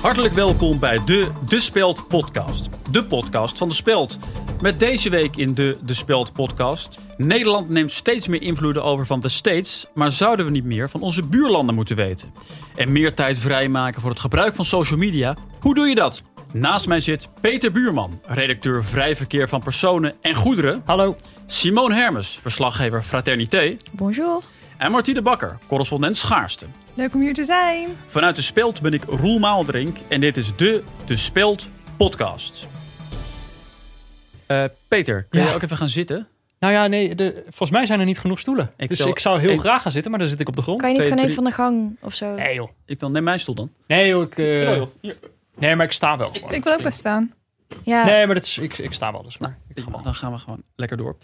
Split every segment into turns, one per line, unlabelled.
Hartelijk welkom bij de De Speld Podcast. De podcast van De Speld. Met deze week in de De Speld Podcast. Nederland neemt steeds meer invloeden over van de States. Maar zouden we niet meer van onze buurlanden moeten weten? En meer tijd vrijmaken voor het gebruik van social media? Hoe doe je dat? Naast mij zit Peter Buurman, redacteur Vrij Verkeer van Personen en Goederen.
Hallo.
Simone Hermes, verslaggever Fraternité.
Bonjour.
En Martine Bakker, correspondent Schaarste.
Leuk om hier te zijn.
Vanuit de Speld ben ik Roel Maaldrink en dit is de De Speld podcast. Eh, Peter, kun
Ja.
je ook even gaan zitten?
Nou ja, nee, de, volgens mij zijn er niet genoeg stoelen.
Ik
dus
tel-
ik zou heel
ik-
graag gaan zitten, maar dan zit ik op de grond.
Kan je niet
twee,
gewoon
drie.
even van de gang of zo?
Nee joh.
Ik dan neem mijn stoel dan.
Nee joh, ik, eh,
Ja, joh. Hier.
nee, maar ik sta wel. gewoon.
Ik wil ook best staan.
Ja.
Nee, maar dat is, ik, ik sta wel
Nou,
dus. Maar ik ga wel.
Dan gaan we gewoon lekker door.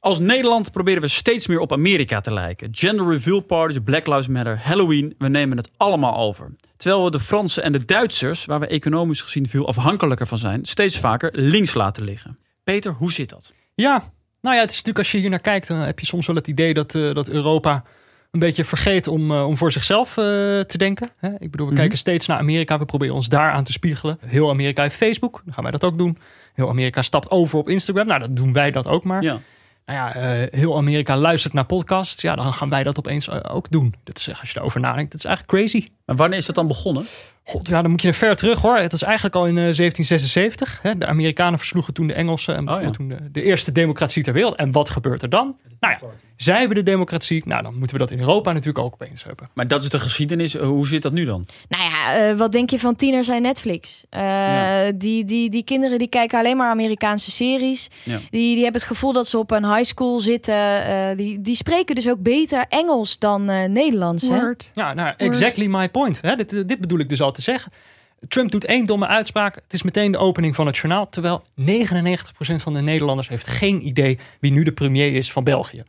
Als Nederland proberen we steeds meer op Amerika te lijken. Gender reveal parties, Black Lives Matter, Halloween, we nemen het allemaal over. Terwijl we de Fransen en de Duitsers, waar we economisch gezien veel afhankelijker van zijn, steeds vaker links laten liggen. Peter, hoe zit dat?
Ja, nou ja, het is natuurlijk als je hier naar kijkt, dan heb je soms wel het idee dat, eh, dat Europa een beetje vergeet om, eh, om voor zichzelf eh, te denken. Hè? Ik bedoel, we
Mhm.
kijken steeds naar Amerika, we proberen ons daar aan te spiegelen. Heel Amerika heeft Facebook, dan gaan wij dat ook doen. Heel Amerika stapt over op Instagram, nou dan doen wij dat ook maar.
Ja.
nou ja, eh, heel Amerika luistert naar podcasts. Ja, dan gaan wij dat opeens eh, ook doen. Dat is, eh, als je daarover nadenkt, dat is eigenlijk crazy.
Maar wanneer is dat dan begonnen?
God, ja, dan moet je er ver terug hoor. Het is eigenlijk al in eh, 1776. Hè? De Amerikanen versloegen toen de Engelsen en
Oh, ja.
toen de, de eerste democratie ter wereld. En wat gebeurt er dan? Nou ja, zij hebben de democratie. Nou, dan moeten we dat in Europa natuurlijk ook opeens hebben.
Maar dat is de geschiedenis. Eh, Hoe zit dat nu dan?
Nou ja, eh, wat denk je van tieners en Netflix? Eh,
Ja.
die, die, die kinderen die kijken alleen maar Amerikaanse series.
Ja.
Die, die hebben het gevoel dat ze op een high school zitten. Eh, die, die spreken dus ook beter Engels dan eh, Nederlands. Hè?
Word.
Ja, nou, exactly my point. Hè? Dit, eh, dit bedoel ik dus al te zeggen. Trump doet één domme uitspraak. Het is meteen de opening van het journaal. Terwijl 99% van de Nederlanders heeft geen idee wie nu de premier is van België.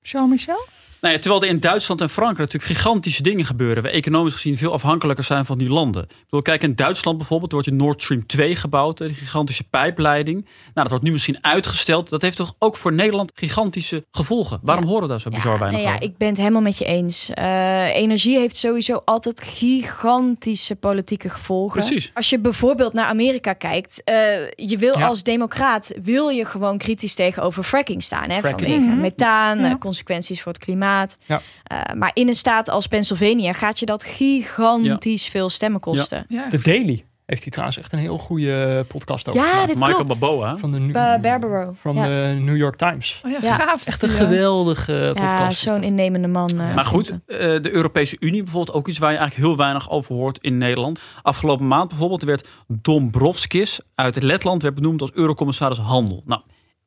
Jean-Michel?
Nou ja, terwijl er in Duitsland en Frankrijk natuurlijk gigantische dingen gebeuren. We economisch gezien veel afhankelijker zijn van die landen. Ik bedoel, kijk in Duitsland bijvoorbeeld. Er wordt je Nord Stream 2 gebouwd. Een gigantische pijpleiding. Nou, dat wordt nu misschien uitgesteld. Dat heeft toch ook voor Nederland gigantische gevolgen. Waarom horen we daar zo bizar weinig
nee, ja,
over?
ik ben het helemaal met je eens. Eh, energie heeft sowieso altijd gigantische politieke gevolgen.
Precies.
Als je bijvoorbeeld naar Amerika kijkt, eh, je wil
Ja.
als democraat wil je gewoon kritisch tegenover fracking staan, hè,
Fracking.
vanwege
Mhm.
methaan,
Ja.
eh, consequenties voor het klimaat.
Ja.
Eh, maar in een staat als Pennsylvania gaat je dat gigantisch veel stemmen kosten.
Ja.
De Daily heeft hij trouwens echt een heel goede podcast
Ja,
over. gemaakt.
dit
Michael
klopt.
Baboa.
Van de, New-
Ba- Barbaro.
Mm. van
Ja.
de New York Times.
Oh ja,
Ja.
gaaf.
Echt een
Ja.
geweldige podcast.
Ja,
is
zo'n
dat.
innemende man. eh,
Maar goed,
vond ik.
eh, de Europese Unie bijvoorbeeld ook iets waar je eigenlijk heel weinig over hoort in Nederland. Afgelopen maand bijvoorbeeld werd Dombrovskis uit Letland werd benoemd als Eurocommissaris Handel. Nou,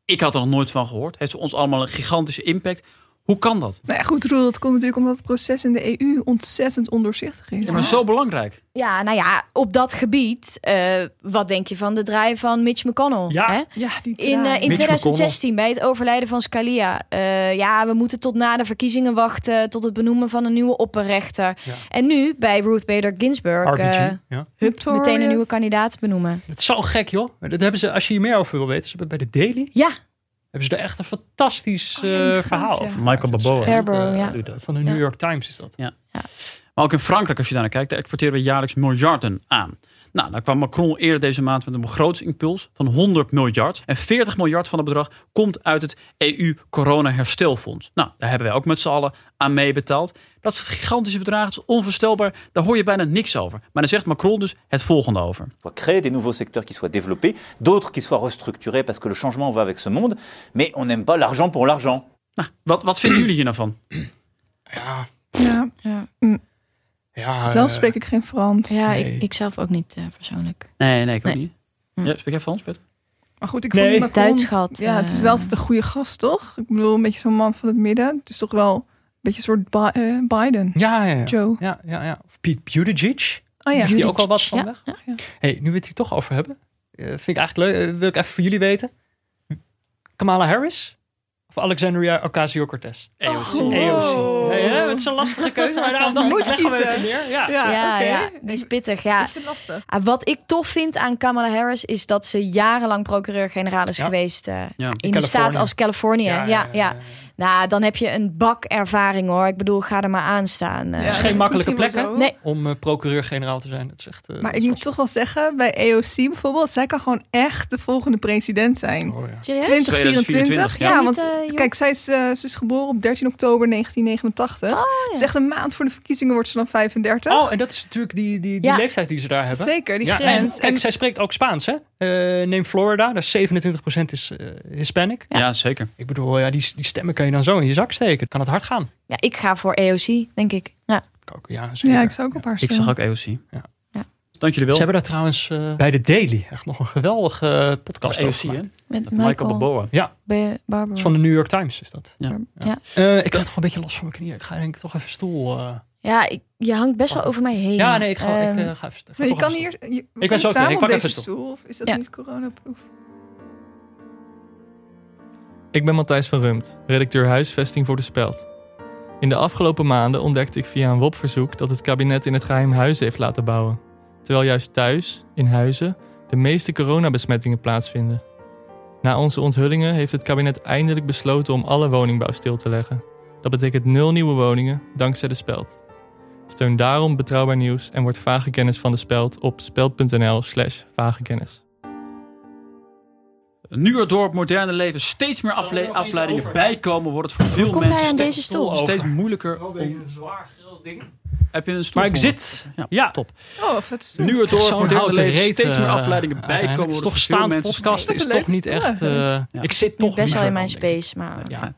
ik had er nog nooit van gehoord. Heeft voor ons allemaal een gigantische impact. Hoe kan dat?
Nou ja, goed, Roel, dat komt natuurlijk omdat het proces in de EU ontzettend ondoorzichtig is.
Ja, maar zo belangrijk.
Ja, nou ja, op dat gebied, eh, wat denk je van de draai van Mitch McConnell?
Ja.
hè?
Ja, die
In,
traan.
eh, in
Mitch
2016, bij het overlijden van Scalia. eh, ja, we moeten tot na de verkiezingen wachten. Tot het benoemen van een nieuwe opperrechter.
Ja.
En nu bij Ruth Bader Ginsburg.
RBG.
eh,
ja.
hup, meteen een
Notorious.
nieuwe kandidaat benoemen.
Dat is zo gek, joh. Maar Dat hebben ze, als je hier meer over wil weten, ze hebben bij de Daily
Ja,
hebben ze er echt een fantastisch
Oh ja, die
eh,
is gaaf,
verhaal
ja.
over.
Michael
Dat is
Barboa.
echt,
Barboa,
eh,
ja.
doe dat. Van de New
Ja.
York Times is dat.
Maar ook in Frankrijk, als je daar naar kijkt, daar exporteren we jaarlijks miljarden aan. Nou, dan kwam Macron eerder deze maand met een begrotingsimpuls van 100 miljard. En 40 miljard van dat bedrag komt uit het EU-corona-herstelfonds. Nou, daar hebben wij ook met z'n allen aan meebetaald. Dat is het gigantische bedrag, dat is onvoorstelbaar. Daar hoor je bijna niks over. Maar dan zegt Macron dus het volgende over.
On doit créer des nouveaux secteurs qui soient développés, d'autres qui soient restructurés parce que le changement va avec ce monde, mais on n'aime pas l'argent pour l'argent.
Nou, wat, wat vinden jullie hier nou van?
Ja,
Ja.
ja.
Ah, ja
Zelf
eh,
spreek ik geen Frans.
ja
Nee.
ik, ik zelf ook niet eh, persoonlijk.
Nee, nee, ik ook
Nee.
niet. Ja, spreek jij Frans, Pet?
Maar goed, ik
Nee.
vond die Macron-
Duits gehad.
Ja, het is
eh,
wel altijd een goede gast, toch? Ik bedoel, een beetje zo'n man van het midden. Het is toch wel een beetje een soort Bi- eh, Biden.
Ja, ja, ja.
Joe.
Ja, ja, ja. Of Pete Buttigieg.
Oh ja.
Heeft hij ook al wat van
Ja,
weg?
ja.
Hey, nu we het hier toch over hebben, eh, vind ik eigenlijk leuk. eh, wil ik even voor jullie weten. Kamala Harris? Of of Alexandria Ocasio-Cortez?
E
E
EOC.
Oh.
EOC.
Wow.
Nee, hè, het is een lastige keuze, maar daarom dacht
Moet
ik, leggen we
kiezen.
even neer. Ja.
Ja,
ja,
oké.
ja, die is pittig. Ja.
Ik vind het lastig.
Ah, Wat ik tof vind aan Kamala Harris is dat ze jarenlang procureur-generaal is
Ja.
geweest eh,
Ja.
in de staat
Californië.
als Californië. Ja, ja, Nou, dan heb je een bak ervaring hoor. Ik bedoel, ga er maar aan staan. eh.
Ja,
Het is
dat
geen makkelijke
misschien
plek,
wel
hè?
zo.
Nee.
Om eh, procureur-generaal te zijn. Dat is echt... eh,
Maar
dat
ik
is
moet toch wel zeggen, bij EOC bijvoorbeeld, zij kan gewoon echt de volgende president zijn.
wel- oh, ja.
Serieus?
2024,
2024?
Is
Ja,
dat
want
niet, eh, jong?
kijk, zij is, eh, ze is geboren op 13 oktober 1989.
Oh,
Dus echt een maand voor de verkiezingen wordt ze dan 35.
Oh, en dat is natuurlijk die, die, die
Ja.
leeftijd die ze daar hebben.
Zeker, die
Ja, en,
grens.
kijk,
En-
zij spreekt ook Spaans, hè? Eh, neem Florida, daar is 27% is eh, Hispanic.
Ja, zeker.
Ik bedoel, ja, die, die stemmen kan je dan zo in je zak steken. Kan het hard gaan.
Ja, ik ga voor EOC, denk ik. Ja.
Ik ook, ja, zeker.
ja, ik zou ook op haar
Ik
stemmen.
zag ook EOC.
Ja.
Ja.
Dank jullie
Ze
wel.
hebben daar trouwens eh, bij de Daily echt nog een geweldige eh, podcast over
EOC, hè?
gemaakt.
Met
Michael
Michael,
Balboa.
Ba-
Dat
Barbara.
is van de New York Times, is dat.
Ja.
Ja.
Ja.
Ja.
Eh, ik heb toch een beetje last van mijn knieën. Ik ga denk ik toch even stoel... eh.
ik- je hangt best wel over mij heen.
Ja, nee, ik ga, ik,
Ehm,
eh, ga even ga
Maar je
toch
kan
even
hier je, we
ben
kunnen
zo
samen
tegen. Ik
op
pak
deze
even
stoel. Of is dat
Ja.
niet coronaproof?
Ik ben Matthijs van Rumpt, redacteur huisvesting voor De Speld. In de afgelopen maanden ontdekte ik via een WOP-verzoek dat het kabinet in het geheim huizen heeft laten bouwen. Terwijl juist thuis, in huizen, de meeste coronabesmettingen plaatsvinden. Na onze onthullingen heeft het kabinet eindelijk besloten om alle woningbouw stil te leggen. Dat betekent nul nieuwe woningen, dankzij De Speld. Steun daarom Betrouwbaar Nieuws en word vage kennis van De Speld op speld.nl slash vagekennis.
Nu er door het moderne leven steeds meer afle-
Zal er nog
afleidingen
iets
bijkomen, wordt het voor veel
Komt
mensen
hij aan
steeds,
deze stoel?
over?
steeds moeilijker om...
een zwaar groot ding.
Heb je een stoel
Maar ik
voor me?
zit...
Ja.
Ja,
Oh, vet stoel.
Nu er door het
Zo'n
moderne
houten
leven
reet,
steeds meer
eh,
afleidingen
uiteindelijk.
bijkomen,
is
wordt
toch
het voor veel
staande
mensen...
podcast
Dat
is
is
toch
leuk.
niet echt... eh, Ik zit toch
best wel
liever
in mijn
dan, denk ik.
space, maar...
Ja.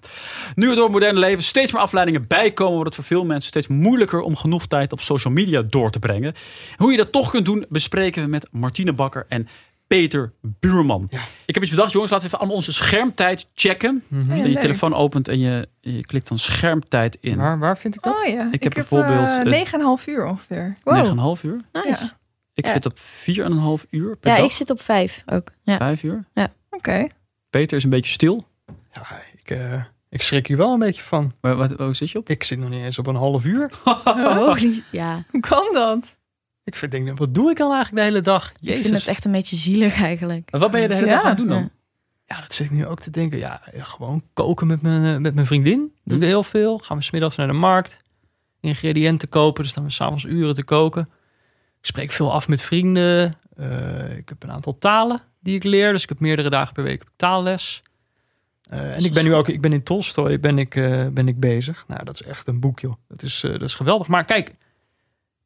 Nu er door het moderne leven steeds meer afleidingen bijkomen, wordt het voor veel mensen steeds moeilijker om genoeg tijd op social media door te brengen. Hoe je dat toch kunt doen, bespreken we met Martine Bakker en Peter Buurman.
Ja.
Ik heb iets bedacht, jongens. Laten we even allemaal onze schermtijd checken.
Mhm.
Als
Oh, Ja,
je je
leuk.
telefoon opent en je, je klikt dan schermtijd in.
Waar, waar vind ik dat?
Oh ja, ik,
heb bijvoorbeeld, eh,
eh 9,5 uur ongeveer. Wow.
9,5 uur.
Nice.
Ja.
Ik
Ja.
zit op 4,5 uur per
Ja,
dag.
ik zit op vijf ook. Ja.
5 uur.
Oké.
Peter is een beetje stil.
Ja, ik, eh, ik schrik hier wel een beetje van.
Maar wat, waar zit je op?
Ik zit nog niet eens op een half uur. Oh,
Holy. Oh, Ja,
Hoe kan dat?
Ik vind, denk, wat doe ik dan eigenlijk de hele dag?
ik vind
Jezus.
het echt een beetje zielig eigenlijk.
Wat ben je de hele
Ja.
dag aan het doen dan?
Ja.
Ja, dat zit ik nu ook te denken. Ja, gewoon koken met mijn, eh, met mijn vriendin. Doe
Hm.
ik heel veel. Gaan we smiddags naar de markt. Ingrediënten kopen. Dus staan we s'avonds uren te koken. Ik spreek veel af met vrienden. Eh, ik heb een aantal talen die ik leer. Dus ik heb meerdere dagen per week taalles. Eh, en ik ben nu ook ik ben in Tolstoy ben ik, eh, ben ik bezig. Nou, dat is echt een boek, joh. Dat is, eh, dat is geweldig. Maar kijk,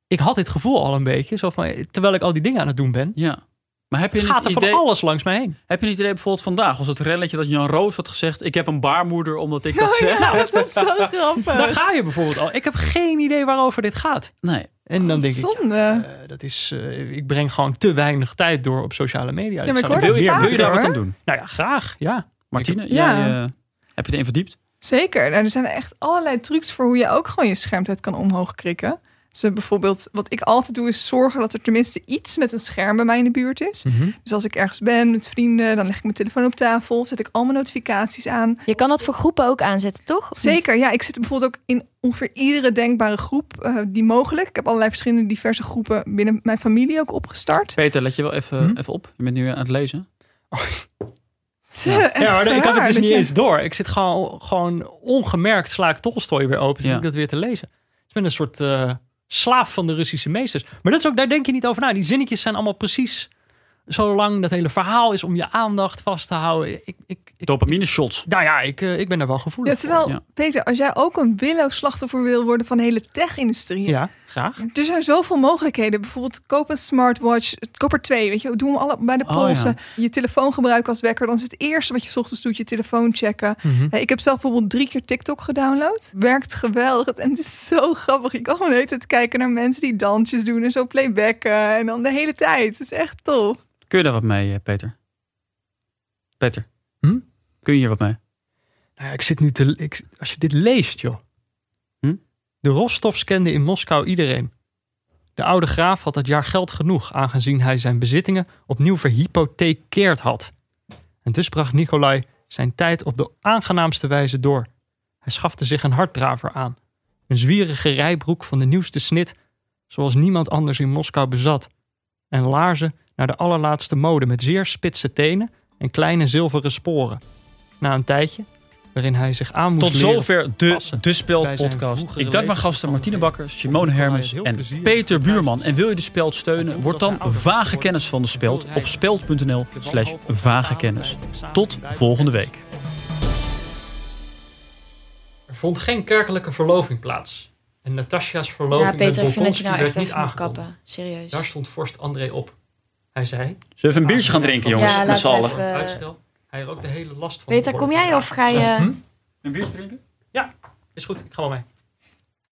ik had dit gevoel al een beetje. Zo van, eh, terwijl ik al die dingen aan het doen ben,
Ja. Maar heb je,
gaat
het
er van
idee,
alles langs mij heen.
heb je niet het idee bijvoorbeeld vandaag, als het relletje dat Jan Roos had gezegd, ik heb een baarmoeder omdat ik dat
Oh,
zeg?
dat is zo grappig.
Daar ga je bijvoorbeeld al. Ik heb geen idee waarover dit gaat.
Nee.
En dan denk ik, ja,
Zonde.
eh, dat is, eh, ik breng gewoon te weinig tijd door op sociale media. Dus
maar
zou
ik hoor
het
Wil
dat
je,
weer
vaak.
wil je daar
moeten
hoor.
wat aan doen?
doen. Nou ja, graag, ja.
Martine,
Ja.
jij, eh, heb je erin verdiept?
Zeker. Nou, er zijn echt allerlei trucs voor hoe je ook gewoon je schermtijd kan omhoog krikken. Dus eh, bijvoorbeeld, wat ik altijd doe, is zorgen dat er tenminste iets met een scherm bij mij in de buurt is. Dus als ik ergens ben met vrienden, dan leg ik mijn telefoon op tafel, zet ik al mijn notificaties aan.
Je kan dat voor groepen ook aanzetten, toch? Of niet?
Zeker, ja. Ik zit bijvoorbeeld ook in ongeveer iedere denkbare groep eh, die mogelijk. Ik heb allerlei verschillende diverse groepen binnen mijn familie ook opgestart.
Peter, let je wel even,
Hm?
even op. Je bent nu aan het lezen.
Echt
Ja, maar ik had het
raar
dus
dat
niet
je-
eens door. Ik zit gewoon, gewoon ongemerkt sla ik Tolstoy weer open. Zit
Ja.
ik dat weer te lezen. Dus ik ben een soort eh, slaaf van de Russische meesters. Maar dat is ook, daar denk je niet over na. Die zinnetjes zijn allemaal precies zo lang. Dat hele verhaal is om je aandacht vast te houden. Ik, ik, ik,
Dopamine shots.
nou ja, ik, eh, ik ben daar wel
Ja,
gevoelig voor.
terwijl,
Ja.
Peter, als jij ook een willoos slachtoffer wil worden van de hele tech-industrie,
Ja, graag.
Er zijn zoveel mogelijkheden. Bijvoorbeeld koop een smartwatch. Koop er twee, weet je. Doe hem alle bij de
Oh,
polsen. Je telefoon gebruiken als wekker. Dan is het eerste wat je 's ochtends doet, je telefoon checken.
Hm.
Eh, Ik heb zelf bijvoorbeeld drie keer TikTok gedownload. Werkt geweldig. En het is zo grappig. Je kan gewoon de hele tijd kijken naar mensen die dansjes doen. En zo playbacken. En dan de hele tijd. Het is echt tof.
Kun je daar wat mee, eh, Peter? Peter,
Hm?
kun je hier wat mee?
Nou ja, ik zit nu te. Ik, als je dit leest, joh.
Hm?
De Rostovs kenden in Moskou iedereen. De oude graaf had dat jaar geld genoeg, aangezien hij zijn bezittingen opnieuw verhypothekeerd had. En dus bracht Nikolai zijn tijd op de aangenaamste wijze door. Hij schafte zich een harddraver aan. Een zwierige rijbroek van de nieuwste snit, zoals niemand anders in Moskou bezat. En laarzen naar de allerlaatste mode met zeer spitse tenen en kleine zilveren sporen. Na een tijdje, waarin hij zich aan moest
Tot
leren-
zover de, de
passen bij zijn
Speldpodcast.
vroegere
Ik dank mijn
leven
gasten
van
Martine
leven.
Bakker, Simone
Omdat hij
Hermens
het heel
en
plezierig
Peter
heeft.
Buurman. En wil je de Speld steunen?
Hij
Word
voelt
dan
dat hij ouder
vage
wordt.
kennis van de Speld
Hij wil
op speld.nl slash vage kennis. Tot volgende week.
Er vond geen kerkelijke verloving plaats. En Natasja's verloving
Ja, Peter, ik
met
vind dat
Bolkonski
je nou echt
werd niet
even moet
aangekomen.
kappen. Serieus.
Daar stond vorst André op. Hij zei...
Zullen we even een biertje gaan drinken, jongens?
Ja,
met
laten
z'n
we
allen.
even-
Voor het uitstel. Hij er ook de hele last van
Peter,
de
kom
borg
jij of
draagt.
ga je...
Een biertje drinken?
Is goed, ik ga wel mee.